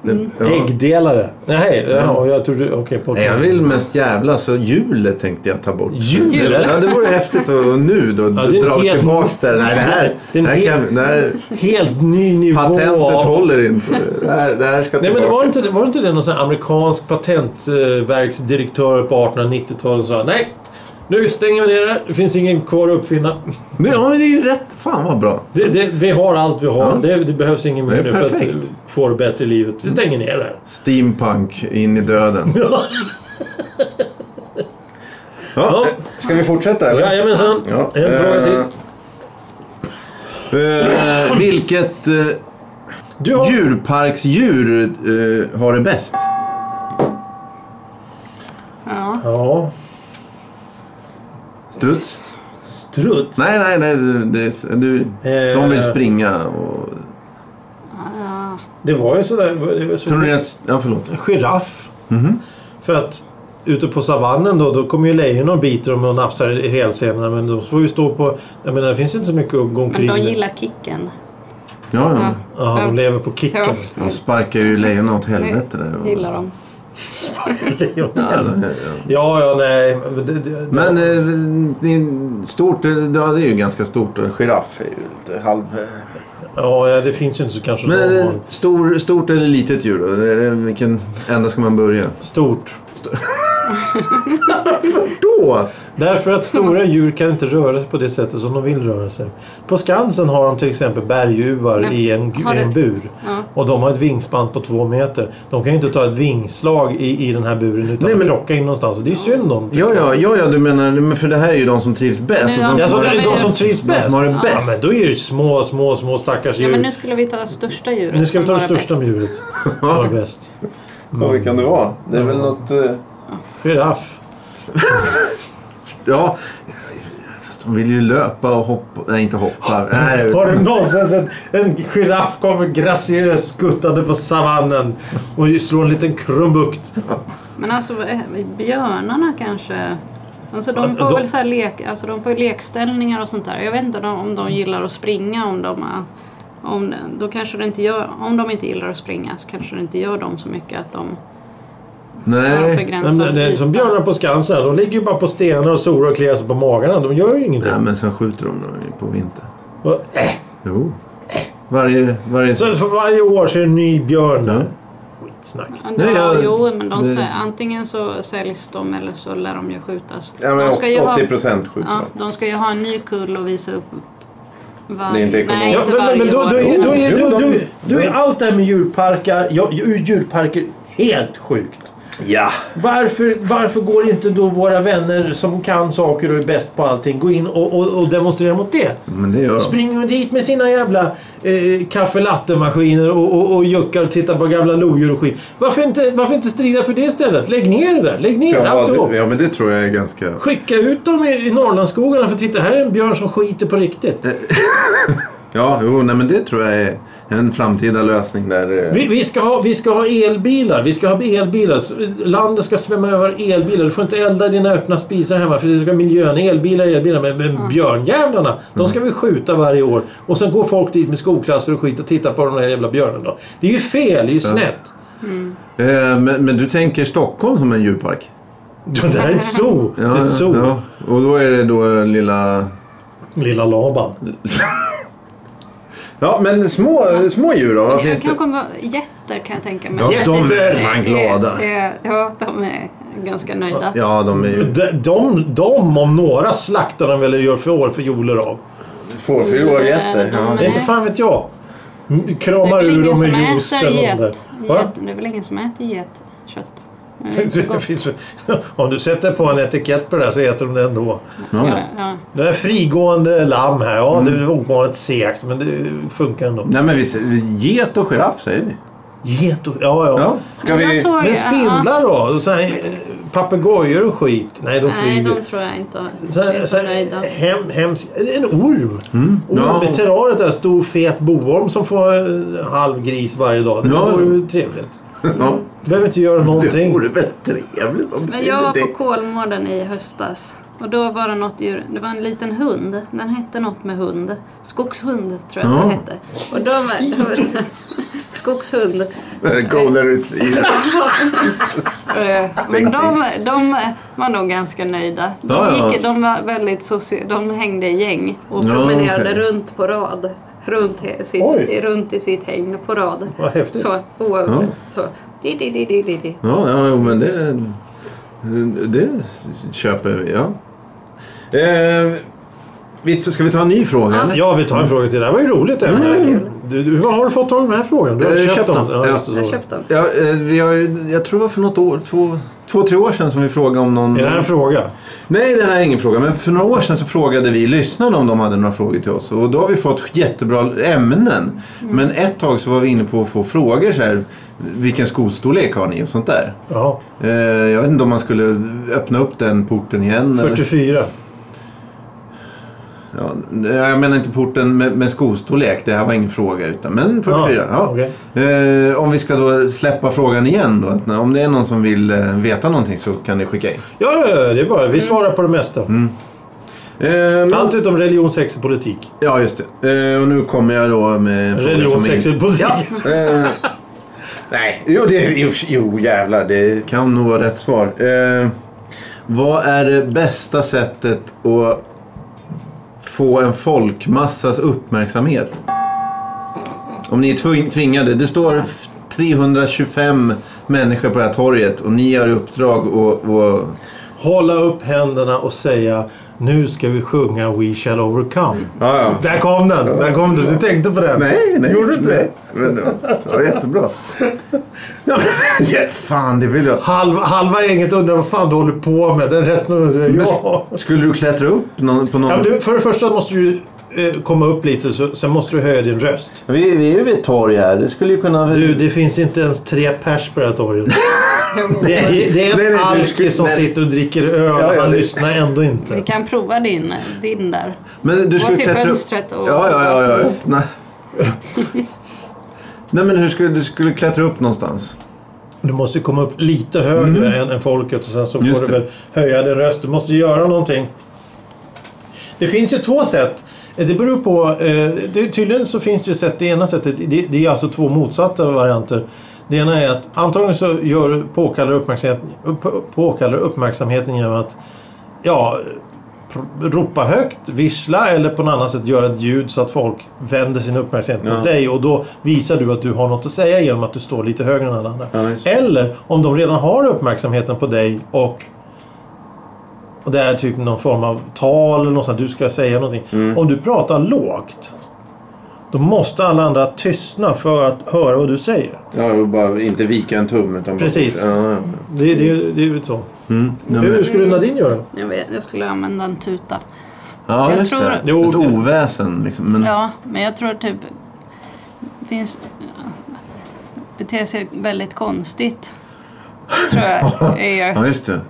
Speaker 1: Det, ja.
Speaker 4: Äggdelare.
Speaker 2: Nej, ja, jag trodde... Okej, okay,
Speaker 1: Nej, jag vill mest jävla så hjulet tänkte jag ta bort.
Speaker 2: Hjulet?
Speaker 1: Ja, det vore häftigt att och nu då
Speaker 2: Ja, det är en
Speaker 1: dra
Speaker 2: helt-
Speaker 1: tillbaks det. Nej, det här,
Speaker 2: Det är en
Speaker 1: det här
Speaker 2: helt-
Speaker 1: kan, det här,
Speaker 2: Helt ny nivå.
Speaker 1: patentet
Speaker 2: av-
Speaker 1: håller inte. Det här, det här ska
Speaker 2: Nej, men det
Speaker 1: tillbaka.
Speaker 2: var, inte, det- var det inte det någon sån här amerikansk patentverksdirektör på 1890-talet som sa nej, nu stänger vi ner det. Det finns ingen kvar att uppfinna.
Speaker 1: Nej, Ja, men det är ju rätt. Fan vad bra.
Speaker 2: Det, det, vi har allt vi har.
Speaker 1: Ja.
Speaker 2: Det, det behövs ingen
Speaker 1: Det
Speaker 2: mer
Speaker 1: är
Speaker 2: nu för att
Speaker 1: perfekt.
Speaker 2: få det bättre i livet. Vi stänger ner det. här.
Speaker 1: Steampunk in i döden.
Speaker 2: Ja.
Speaker 1: Ja, ska vi fortsätta eller?
Speaker 2: Jajamensan.
Speaker 1: Ja,
Speaker 2: En fråga
Speaker 1: eh,
Speaker 2: till.
Speaker 1: eh, vilket eh,
Speaker 2: Du har...
Speaker 1: djurparksdjur eh, har det bäst?
Speaker 3: Ja.
Speaker 2: Ja.
Speaker 1: Struts?
Speaker 2: Struts? Eh,
Speaker 1: Nej, nej, nej. Det, det, du, de vill springa och...
Speaker 3: ja.
Speaker 2: Det var ju sådär... Det var så
Speaker 1: Tror ni det... Ja, förlåt.
Speaker 2: Giraff.
Speaker 1: Mhm.
Speaker 2: För att ute på savannen då, då kommer ju lejon och biter dem och nafsar i hälsenorna. Men de får ju stå på... Jag menar, det finns ju inte så mycket att gå
Speaker 3: Men
Speaker 2: omkring.
Speaker 3: de
Speaker 2: med.
Speaker 3: gillar kicken.
Speaker 1: Ja, ja.
Speaker 3: Ja.
Speaker 2: Ja, de
Speaker 3: Ja.
Speaker 2: lever på kicken.
Speaker 3: Ja.
Speaker 1: De sparkar ju lejonen åt helvete där. Och...
Speaker 3: Gillar de.
Speaker 2: Ja,
Speaker 1: Ja,
Speaker 2: ja,
Speaker 1: ja, ja.
Speaker 2: ja, nej. men Det, det,
Speaker 1: Men eh, det är stort, eh, ja, det är ju ganska stort. eh, Giraff är ju lite halv... eh,
Speaker 2: ja, ja, det finns ju inte så kanske så
Speaker 1: Men eh,
Speaker 2: många.
Speaker 1: stor, stort eller litet djur då? Eh, Vilken ända ska man börja?
Speaker 2: Stort.
Speaker 1: Då!
Speaker 2: Därför att stora djur kan inte röra sig på det sättet som de vill röra sig. På Skansen har de till exempel berguvar
Speaker 3: Men,
Speaker 2: i en, gu-
Speaker 3: har
Speaker 2: en
Speaker 3: du-
Speaker 2: bur.
Speaker 3: Ja.
Speaker 2: Och de har ett vingspann på två meter. De kan ju inte ta ett vingslag i, i den här buren utan
Speaker 1: Nej,
Speaker 2: att
Speaker 1: men-
Speaker 2: krocka in någonstans. Och det är synd om.
Speaker 1: Ja, ja, ja, ja, du menar, men för det här är ju de som trivs bäst.
Speaker 3: Ja,
Speaker 1: och
Speaker 2: Alltså,
Speaker 1: som
Speaker 2: det
Speaker 1: har
Speaker 2: är de som trivs
Speaker 1: de
Speaker 2: bäst.
Speaker 1: som har det
Speaker 2: Ja, men
Speaker 1: bäst.
Speaker 2: då är det ju små, små, små stackars
Speaker 3: ja,
Speaker 2: djur.
Speaker 3: men
Speaker 2: nu,
Speaker 3: nu skulle vi ta det största djuret.
Speaker 2: ska vi ta
Speaker 3: som
Speaker 2: det
Speaker 3: var
Speaker 2: största
Speaker 3: bäst.
Speaker 2: djuret. Var det bäst. Mm.
Speaker 1: Ja, vilken det var? Det är väl något... eh,
Speaker 2: Giraff.
Speaker 1: Ja, fast de vill ju löpa och hoppa. Nej, inte hoppa. Nej,
Speaker 2: Har du någonsin sett en giraff kommer graciöst skuttande på savannen och slår en liten krumbukt?
Speaker 3: Men alltså vad är- björnarna kanske? Alltså de
Speaker 2: Ja,
Speaker 3: får
Speaker 2: de-
Speaker 3: väl så här lek, alltså de får ju lekställningar och sånt där. Jag vet inte de- om de gillar att springa. Om de, är- om, då kanske det inte gör, om de inte gillar att springa så kanske det inte gör dem så mycket att de har en
Speaker 1: nej.
Speaker 2: Nej,
Speaker 3: begränsad
Speaker 2: men det är som
Speaker 3: yta.
Speaker 2: björnar på Skansen, de ligger ju bara på stenar och solar och kliar sig på magarna. De gör ju ingenting.
Speaker 1: nej, men sen skjuter de dem ju på vintern.
Speaker 2: Och, äh.
Speaker 1: Jo. Varje... varje...
Speaker 2: Så för varje år så är det en ny björn.
Speaker 1: Ja.
Speaker 2: Skitsnack.
Speaker 3: Ja,
Speaker 1: Nej,
Speaker 3: ja,
Speaker 1: jag-
Speaker 3: jo, men de,
Speaker 1: det-
Speaker 3: sä- antingen så säljs de eller så lär de ju skjutas.
Speaker 1: Ja, men
Speaker 3: de ska ju ha,
Speaker 1: 80 procent skjuter
Speaker 3: ja,
Speaker 1: de.
Speaker 3: de ska ju ha en ny kull och visa upp varje...
Speaker 1: Det är inte
Speaker 3: nej,
Speaker 1: ekonomiskt.
Speaker 2: Ja, men, men,
Speaker 3: inte varje
Speaker 2: men då,
Speaker 3: år.
Speaker 2: då, är- då, är-
Speaker 1: Jo,
Speaker 2: då,
Speaker 1: de-
Speaker 2: då, då är
Speaker 1: de-
Speaker 2: allt det här med djurparker, ja, ju- djurparker helt sjukt.
Speaker 1: Ja.
Speaker 2: Varför, varför går inte då våra vänner som kan saker och är bäst på allting gå in och, och, och demonstrera mot det?
Speaker 1: Men det gör de.
Speaker 2: Springer dit med sina jävla eh, kaffelattemaskiner och, och, och juckar och tittar på gamla lodjur och skit. Varför inte, varför inte strida för det istället? Lägg ner det där. Lägg ner alltihop.
Speaker 1: ja, men det tror jag är ganska...
Speaker 2: Skicka ut dem i, i Norrlandsskogarna för titta här är en björn som skiter på riktigt.
Speaker 1: Ja, jo, nej, men det tror jag är en framtida lösning där. eh,
Speaker 2: Vi, vi, ska ha, vi ska ha elbilar. Vi ska ha elbilar. S- Landet ska svämma över av elbilar. Du får inte elda i dina öppna spisar hemma för det ska miljön. Elbilar, elbilar. Men, men björnjävlarna,
Speaker 1: Mm.
Speaker 2: de ska vi skjuta varje år. Och sen går folk dit med skolklasser och skit och tittar på de där jävla björnarna. Det är ju fel, det är ju snett.
Speaker 1: Eh, men, men du tänker Stockholm som en djurpark?
Speaker 2: Ja, Det här är ett zoo. Det är ett zoo.
Speaker 1: ja. Och då är det då lilla...
Speaker 2: Lilla Laban.
Speaker 1: Ja, men små, små djur då? Vad
Speaker 3: Det
Speaker 1: finns
Speaker 3: kan
Speaker 1: det?
Speaker 3: komma jätter kan jag tänka mig.
Speaker 1: Ja, de är
Speaker 2: Jätte-
Speaker 1: fan glada.
Speaker 3: Eh, eh, Ja, de är ganska nöjda.
Speaker 1: Ja, de är ju...
Speaker 2: De, de, de om några slaktar de väl och gör fjoler av.
Speaker 1: Fårfyllor och getter.
Speaker 3: Ja.
Speaker 2: Inte fan vet jag. M-
Speaker 3: Det
Speaker 2: Kramar
Speaker 3: är väl
Speaker 2: ur
Speaker 3: ingen
Speaker 2: dem med
Speaker 3: som
Speaker 2: juice
Speaker 3: äter
Speaker 2: eller något
Speaker 3: get.
Speaker 2: sånt där. Va?
Speaker 3: get. Det är väl ingen som äter getkött? Det är inte
Speaker 2: Det
Speaker 3: gott.
Speaker 2: finns, väl- om du sätter på en etikett på det här så äter de det ändå.
Speaker 3: Ja, ja.
Speaker 2: Det är frigående lamm här. Ja, det
Speaker 1: Mm.
Speaker 2: är ovanligt segt men det funkar ändå.
Speaker 1: Nej, men vi säger- get och giraff säger vi.
Speaker 2: Get och, ja, ja.
Speaker 1: Ja. Ska
Speaker 3: Men jag
Speaker 1: vi...
Speaker 3: såg-
Speaker 2: Men spindlar då? Och så här, eh, Papegojor och skit? Nej, de
Speaker 3: Nej,
Speaker 2: flyger.
Speaker 3: de tror jag inte är
Speaker 2: Sen,
Speaker 3: så
Speaker 2: sen,
Speaker 3: nöjda.
Speaker 2: hem, hems, en orm! Orm
Speaker 1: Mm. Ja.
Speaker 2: i terrariet där. Stor fet boorm som får eh, halv gris varje dag. Det
Speaker 1: Ja.
Speaker 2: vore ju trevligt.
Speaker 1: Ja.
Speaker 2: Du behöver inte göra
Speaker 1: Det
Speaker 2: någonting.
Speaker 1: vore väl trevligt? Vad
Speaker 3: Men
Speaker 1: betyder
Speaker 3: jag var
Speaker 1: det?
Speaker 3: på Kolmården i höstas. Och då var det något djur, det var en liten hund. Den hette något med hund. Skogshund tror jag att den
Speaker 1: Ja.
Speaker 3: hette. Och de, skogshund.
Speaker 4: Golden retriever.
Speaker 3: Eh, Men de, de var nog ganska nöjda. De,
Speaker 1: Ja, ja.
Speaker 3: gick, de var väldigt soci... De hängde i gäng och
Speaker 1: Ja,
Speaker 3: promenerade
Speaker 1: okej.
Speaker 3: runt på rad. Runt, he- sitt,
Speaker 2: Oj.
Speaker 3: runt i sitt häng på rad.
Speaker 2: Vad häftigt.
Speaker 3: Så, oavbrutet.
Speaker 1: Ja.
Speaker 3: Så. Di, di, di, di, di, di.
Speaker 1: Ja, ja jo, men det, det köper vi. Ja. Eh, vi- ska vi ta en ny fråga? eller?
Speaker 2: Ja, vi tar en fråga till. Det här var ju roligt ämne. Du, du, var har du fått tag i de här frågorna? Du har
Speaker 1: Mm. Eh,
Speaker 2: köpt,
Speaker 1: köpt
Speaker 2: dem?
Speaker 1: dem. Ja.
Speaker 2: just det, så.
Speaker 3: Jag köpte dem.
Speaker 1: Ja, eh, vi har, ju- jag tror det var för något år, två, två, tre år sedan som vi frågade om någon...
Speaker 2: Är det här en fråga?
Speaker 1: Nej, det här är ingen fråga. Men för några år sedan så frågade vi lyssnarna om de hade några frågor till oss. Och då har vi fått jättebra ämnen. Men ett tag så var vi inne på att få frågor så här. Vilken skostorlek har ni och sånt där.
Speaker 2: Ja,
Speaker 1: Eh, jag vet inte om man skulle öppna upp den porten igen. eller-
Speaker 2: 44.
Speaker 1: Ja, jag menar inte porten med, med skostorlek. Det här var ingen fråga. Utan, men 44. Ja.
Speaker 2: okej.
Speaker 1: Eh, om vi ska då släppa frågan igen då. Att när- om det är någon som vill eh, veta någonting så kan ni skicka in.
Speaker 2: Ja, ja, ja, det är bara. Vi svarar på det mesta.
Speaker 1: Mm. Eh, men-
Speaker 2: Allt utom religion, sex och politik.
Speaker 1: Ja, just det. Eh, och nu kommer jag då med en fråga
Speaker 2: Religion,
Speaker 1: som är-
Speaker 2: sex och politik.
Speaker 1: Eh,
Speaker 4: Nej, jo, det, jo, jo jävlar. Det,
Speaker 1: kan nog vara rätt svar. Eh, vad är det bästa sättet att få en folkmassas uppmärksamhet? Om ni är tving- tvingade. Det står f- 325 människor på det här torget och ni har i uppdrag att... att-
Speaker 2: Hålla upp händerna och säga nu ska vi sjunga We shall overcome.
Speaker 1: Ja, ja.
Speaker 2: Där kom den! Där kom den. Du tänkte på den.
Speaker 1: Nej, nej.
Speaker 2: Gjorde du inte
Speaker 1: nej. Men det var- det var jättebra. Ja, men, ja, fan, det vill jag.
Speaker 2: Halva, halva gänget undrar vad fan du håller på med. Den resten av säger
Speaker 1: Men
Speaker 2: ja.
Speaker 1: sk- Skulle du klättra upp någon, på någon...
Speaker 2: ja men du, för det första måste du eh, komma upp lite, så, sen måste du höja din röst.
Speaker 1: Vi, vi är ju vid ett torg här. Det skulle ju kunna...
Speaker 2: Du, det finns inte ens tre pers på det här torget. Det, är- det är
Speaker 1: Nej,
Speaker 2: en
Speaker 1: nej, du
Speaker 2: alkis
Speaker 1: skulle-
Speaker 2: som
Speaker 1: nej.
Speaker 2: sitter och dricker öl.
Speaker 1: Ja, ja,
Speaker 2: han
Speaker 1: det-
Speaker 2: lyssnar ändå
Speaker 3: Vi
Speaker 2: inte.
Speaker 3: kan prova din, din där.
Speaker 1: Men du
Speaker 3: Gå
Speaker 1: skulle
Speaker 3: till
Speaker 1: klättra
Speaker 3: typ fönstret och-
Speaker 1: Ja, ja, ja. ja. Nej. Nej, men hur skulle du skulle klättra upp någonstans?
Speaker 2: Du måste komma upp lite högre än, än folket och sen så
Speaker 1: Mm. Just
Speaker 2: får du
Speaker 1: det.
Speaker 2: väl höja din röst. Du måste göra någonting. Det finns ju två sätt. Det beror på. Eh, det, tydligen så finns det ju sätt. Det ena sättet, det, det är alltså två motsatta varianter. Det ena är att antingen så gör, påkallar, uppmärksamheten, upp, påkallar uppmärksamheten genom att ja, pr- ropa högt, vissla eller på något annat sätt göra ett ljud så att folk vänder sin uppmärksamhet mot dig och då visar du att du har något att säga genom att du står lite högre än alla andra.
Speaker 1: Ja, just det.
Speaker 2: eller om de redan har uppmärksamheten på dig och och det är typ någon form av tal eller något sånt. Du ska säga någonting.
Speaker 1: Mm.
Speaker 2: Om du pratar lågt. Då måste alla andra tystna för att höra vad du säger.
Speaker 1: Ja, och bara inte vika en tum. Utan
Speaker 2: Precis.
Speaker 1: Bara, ja, ja.
Speaker 2: Det, det, det är ju så.
Speaker 1: Nej,
Speaker 2: Hur
Speaker 1: men,
Speaker 2: skulle Nadine göra?
Speaker 3: Jag, vet, jag skulle använda en tuta.
Speaker 1: ja,
Speaker 3: Jag
Speaker 1: just
Speaker 3: tror-
Speaker 1: det.
Speaker 2: Jo,
Speaker 1: Ett
Speaker 2: det-
Speaker 1: oväsen liksom. Men,
Speaker 3: Ja, men jag tror typ... Finns, beter sig väldigt konstigt. Tror jag är
Speaker 1: ja, just det.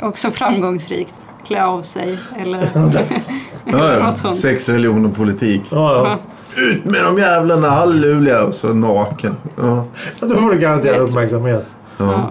Speaker 3: också framgångsrikt. Klä av sig eller
Speaker 1: Ja,
Speaker 3: något
Speaker 1: ja.
Speaker 3: sånt.
Speaker 1: Sex, religion och politik.
Speaker 2: Ja,
Speaker 1: Ut med de jävlarna, halleluja! Och så naken. Ja.
Speaker 2: ja. Då får du garanterat uppmärksamhet.
Speaker 3: Ja.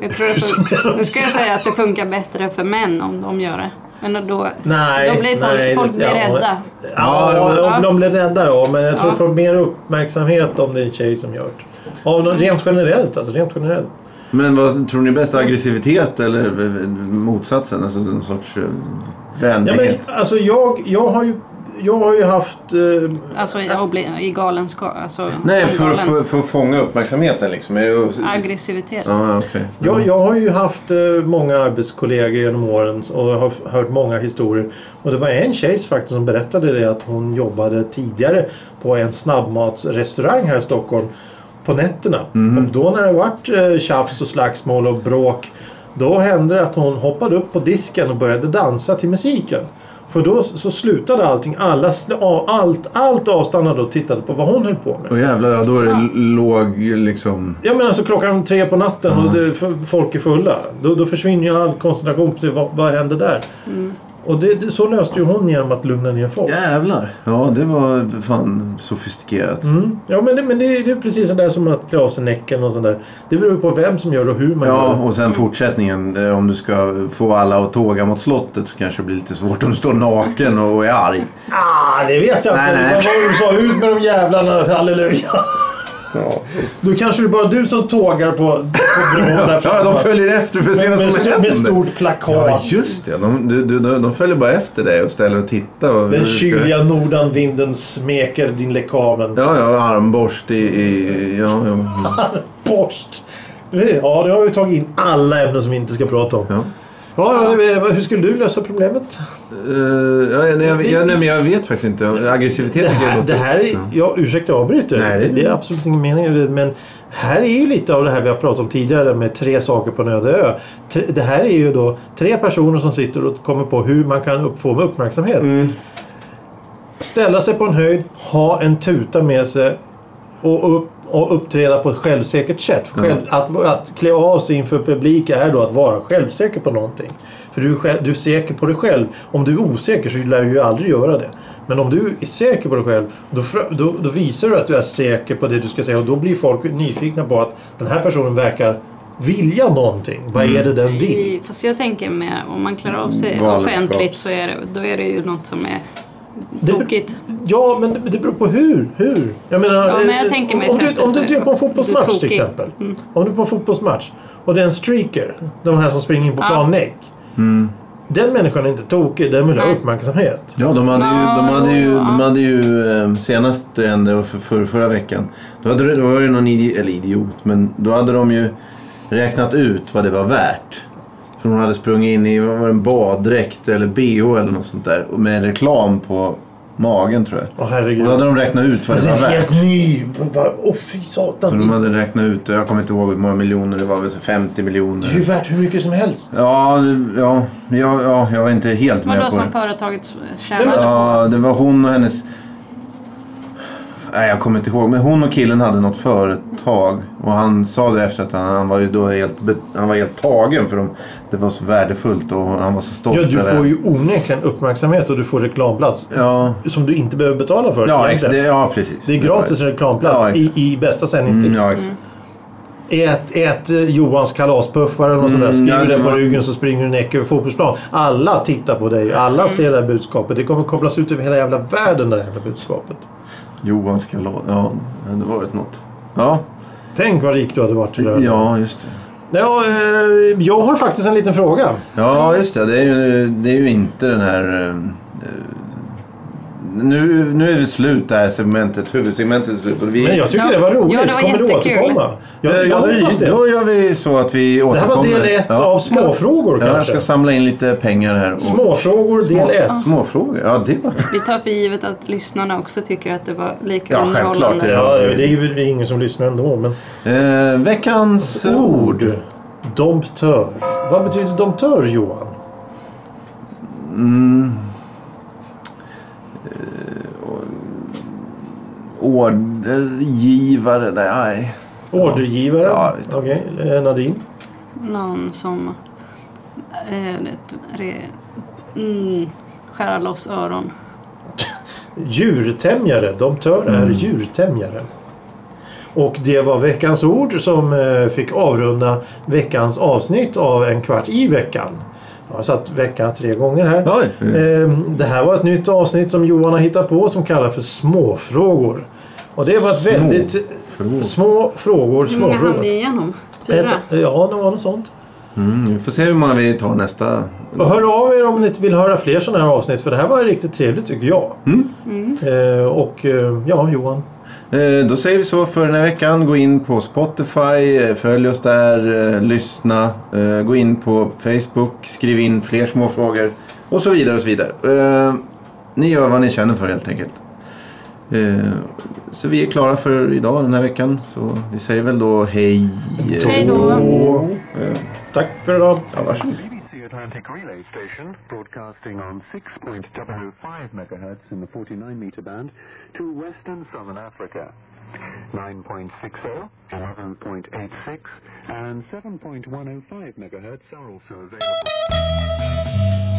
Speaker 3: Jag tror det funkar. Nu ska jag säga att det funkar bättre för män om de gör det. Men då,
Speaker 2: Nej,
Speaker 3: då blir folk,
Speaker 2: nej,
Speaker 3: folk
Speaker 2: det-
Speaker 3: blir
Speaker 2: ja,
Speaker 3: rädda.
Speaker 2: Ja,
Speaker 1: Ja,
Speaker 2: om
Speaker 3: ja.
Speaker 2: de blir rädda ja. Men jag tror
Speaker 3: Ja.
Speaker 2: får mer uppmärksamhet om det är en tjej som gör det. Av någon, rent generellt alltså. Rent generellt.
Speaker 1: Men vad tror ni är bäst? Aggressivitet eller eh, motsatsen? Alltså någon sorts eh,
Speaker 2: Ja, men,
Speaker 1: vänlighet?
Speaker 2: alltså jag, jag, har ju, jag har ju haft... Eh,
Speaker 3: Alltså jag blir, i galenskap. Alltså,
Speaker 1: Nej,
Speaker 3: som
Speaker 1: för,
Speaker 3: galen.
Speaker 1: för, för att fånga uppmärksamheten liksom. Är det-
Speaker 3: Aggressivitet.
Speaker 1: Ja, okej.
Speaker 2: Jag, jag har ju haft eh, många arbetskollegor genom åren och har f- hört många historier. Och det var en tjej faktiskt som berättade det att hon jobbade tidigare på en snabbmatsrestaurang här i Stockholm på nätterna. Och då när det vart eh, tjafs och slagsmål och bråk då hände det att hon hoppade upp på disken och började dansa till musiken. För då s- så slutade allting. Alla, sl- a- allt, allt avstannade och tittade på vad hon höll på med.
Speaker 1: Åh jävlar, ja, då är det l- låg liksom...
Speaker 2: Ja men alltså klockan tre på natten och det, f- folk är fulla. Då, då försvinner ju all koncentration. På vad, vad händer där? Och det, det, så löste ju hon genom att lugna ner folk.
Speaker 1: Jävlar! Mm. Ja, det var fan sofistikerat.
Speaker 2: Mm. Ja men, det, men det, det är precis sådär som att klä av sig näcken och sånt där. Det beror ju på vem som gör det och hur man
Speaker 1: Ja,
Speaker 2: gör det.
Speaker 1: och sen fortsättningen. eh, Om du ska få alla att tåga mot slottet så kanske det blir lite svårt om du står naken och är arg.
Speaker 2: Ah, det vet jag
Speaker 1: Nej,
Speaker 2: inte.
Speaker 1: nej.
Speaker 2: Det var vad du sa. Ut med de jävlarna, halleluja.
Speaker 4: Ja.
Speaker 2: Då kanske det är bara du som tågar på, på bron där
Speaker 1: Ja, de följer efter för att se
Speaker 2: med,
Speaker 1: vad
Speaker 2: med,
Speaker 1: som
Speaker 2: st-
Speaker 1: händer.
Speaker 2: med stort plakat.
Speaker 1: Ja, just det. De, du- du- de, de följer bara efter dig och ställer och tittar. Och,
Speaker 2: Den kyliga nordanvinden smeker din lekamen.
Speaker 1: Ja, ja, armborst i... i ja, ja.
Speaker 2: Borst! Ja, det har vi tagit in alla ämnen som vi inte ska prata om. Ja,
Speaker 1: ja.
Speaker 2: ja, det, hur skulle du lösa problemet?
Speaker 1: Eh, ja, nej, jag, jag, nej, men jag vet faktiskt inte. Aggressivitet
Speaker 2: Det
Speaker 1: tycker jag
Speaker 2: här,
Speaker 1: låter-
Speaker 2: det här är, ja, ursäkta jag avbryter.
Speaker 1: Nej, det-
Speaker 2: det är absolut ingen mening. med det, Men här är ju lite av det här vi har pratat om tidigare med tre saker på en öde ö. Tre- Det här är ju då tre personer som sitter och kommer på hur man kan upp, få uppmärksamhet.
Speaker 1: Mm.
Speaker 2: Ställa sig på en höjd, ha en tuta med sig och, upp, och uppträda på ett självsäkert sätt. För Själv, att, att klä av sig inför publik är då att vara självsäker på någonting. För du är, själv, du är säker på dig själv. Om du är osäker så lär du ju aldrig göra det. Men om du är säker på dig själv då, frö- då, då visar du att du är säker på det du ska säga och då blir folk nyfikna på att den här personen verkar vilja någonting. Vad är det den vill?
Speaker 3: I, fast jag tänker mer om man klär av sig
Speaker 4: Galenskap.
Speaker 3: offentligt så är det, då är det ju något som är
Speaker 2: Det-
Speaker 3: tokigt.
Speaker 2: Ja, men det- det beror på hur. hur? Jag menar,
Speaker 3: Ja, men jag
Speaker 2: eh,
Speaker 3: tänker mig
Speaker 2: om, du,
Speaker 3: exempel
Speaker 2: om du
Speaker 3: på-
Speaker 2: är på en fotbollsmatch
Speaker 3: du är
Speaker 2: till
Speaker 3: tokig. Mm.
Speaker 2: exempel. Om du är på en fotbollsmatch och det är en streaker, de här som springer in på
Speaker 3: Ja.
Speaker 2: plan näck.
Speaker 1: Mm.
Speaker 2: Den människan är inte tokig, den vill ha
Speaker 3: Nej.
Speaker 2: uppmärksamhet.
Speaker 1: Ja, de hade ju, de
Speaker 3: Ja,
Speaker 1: hade ju,
Speaker 3: ja.
Speaker 1: de hade ju eh, senast det hände, och för, för, förra veckan. Då, hade, det- då var det någon idi, eller idiot, men då hade de ju räknat ut vad det var värt. För hon hade sprungit in i vad var det, en baddräkt eller bh eller något sånt där och med reklam på magen tror jag.
Speaker 2: Åh herregud.
Speaker 1: Och då hade de räknat ut vad det
Speaker 2: Den Alltså, är
Speaker 1: var värt.
Speaker 2: helt ny! Åh oh, fy
Speaker 1: Så de
Speaker 2: satan!
Speaker 1: hade räknat ut, jag kommer inte ihåg hur många miljoner det var, väl så 50
Speaker 2: Det är ju
Speaker 1: miljoner.
Speaker 2: värt hur mycket som helst.
Speaker 1: Ja, ja, ja, ja, jag var inte helt med
Speaker 3: Vadå
Speaker 1: på det.
Speaker 3: som företaget
Speaker 2: Nej,
Speaker 3: tjänade
Speaker 2: men-
Speaker 3: på?
Speaker 1: Ja, det var hon och hennes... Nej, jag kommer inte ihåg. Men hon och killen hade något företag. Och han sa det efter att han, han var ju då helt, be- han var helt tagen för de, det var så värdefullt och han var så stolt
Speaker 2: Ja, du
Speaker 1: över
Speaker 2: får
Speaker 1: det.
Speaker 2: ju onekligen uppmärksamhet och du får reklamplats.
Speaker 1: Ja,
Speaker 2: Som du inte behöver betala för.
Speaker 1: ja, ex,
Speaker 2: egentligen.
Speaker 1: det, ja precis.
Speaker 2: det är gratis reklamplats
Speaker 1: Ja,
Speaker 2: i, i bästa sändningstid.
Speaker 1: Mm, ja, exakt.
Speaker 2: Ät, ät eh, Johans kalaspuffar eller något sånt där.
Speaker 1: Mm. ja,
Speaker 2: Skriver
Speaker 1: det
Speaker 2: det på
Speaker 1: var-
Speaker 2: ryggen så springer du näck över fotbollsplan. Alla tittar på dig. Alla
Speaker 3: Mm.
Speaker 2: ser det här budskapet. Det kommer kopplas ut över hela jävla världen det här jävla budskapet.
Speaker 1: Johans kalas. Ja, det var ett något. Ja,
Speaker 2: Tänk vad rik du hade varit idag. Ja.
Speaker 1: ja just det.
Speaker 2: Ja, eh, jag har faktiskt en liten fråga.
Speaker 1: Ja, just det. Det är ju, det är ju inte den här... eh, Nu, nu är det slut det här segmentet. Huvudsegmentet är slut. Och vi,
Speaker 2: Men jag tycker
Speaker 3: Ja.
Speaker 2: det var roligt.
Speaker 3: Ja, det var
Speaker 2: kommer du
Speaker 3: jättekul.
Speaker 2: återkomma?
Speaker 1: Eh, Ja,
Speaker 2: Jag, jag
Speaker 1: då,
Speaker 2: hoppas det.
Speaker 1: då gör vi så att vi
Speaker 2: Det här
Speaker 1: återkommer.
Speaker 2: var del ett
Speaker 1: ja.
Speaker 2: av småfrågor
Speaker 1: Ja, jag
Speaker 2: kanske.
Speaker 1: ska samla in lite pengar här. Och...
Speaker 2: Småfrågor del ett.
Speaker 1: Små, småfrågor? Ja, det var
Speaker 3: Vi tar för givet att lyssnarna också tycker att det var lika
Speaker 1: Ja, självklart,
Speaker 3: underhållande.
Speaker 1: det är-
Speaker 2: Ja, det är ju ingen som lyssnar ändå. Men...
Speaker 1: eh, Veckans
Speaker 2: Alltså,
Speaker 1: ord.
Speaker 2: Domptör. Vad betyder domptör Johan?
Speaker 1: Ordergivare. Nej.
Speaker 2: Ordergivare?
Speaker 1: Ja, visst.
Speaker 2: Okej, eh, Nadine?
Speaker 3: Någon som eh, ett re, mm, skär loss öron.
Speaker 2: Djurtämjare. Domptör
Speaker 1: Mm.
Speaker 2: är djurtämjare. Och det var veckans ord som eh, fick avrunda veckans avsnitt av En kvart i veckan. Jag har satt veckan tre gånger här.
Speaker 1: Oj.
Speaker 2: Ehm, Det här var ett nytt avsnitt som Johan har hittat på som kallas för småfrågor. Och det var ett väldigt...
Speaker 1: Frågor.
Speaker 2: Små frågor,
Speaker 3: Hur många hann
Speaker 2: småfrågor.
Speaker 3: vi igenom? Fyra?
Speaker 2: Ett- Ja, det var något sånt.
Speaker 1: Mm, vi får se hur många vi tar nästa.
Speaker 2: Och hör av er om ni vill höra fler sådana här avsnitt för det här var riktigt trevligt tycker jag.
Speaker 3: Mm.
Speaker 2: Eh, och eh, ja, Johan.
Speaker 1: Eh, då säger vi så för den här veckan. Gå in på Spotify, eh, följ oss där, eh, lyssna. Eh, gå in på Facebook, skriv in fler små frågor och så vidare och så vidare. Eh, ni gör vad ni känner för helt enkelt. Eh, så vi är klara för idag den här veckan. Så vi säger väl då hej.
Speaker 3: Hej då.
Speaker 2: Och, eh, tack för idag.
Speaker 1: Ja, varsågod.
Speaker 5: BBC Atlantic Relay Station, broadcasting on 6.05 MHz in the 49 meter band to West and Southern Africa. 9.60, 11.86, oh and 7.105 MHz are also available.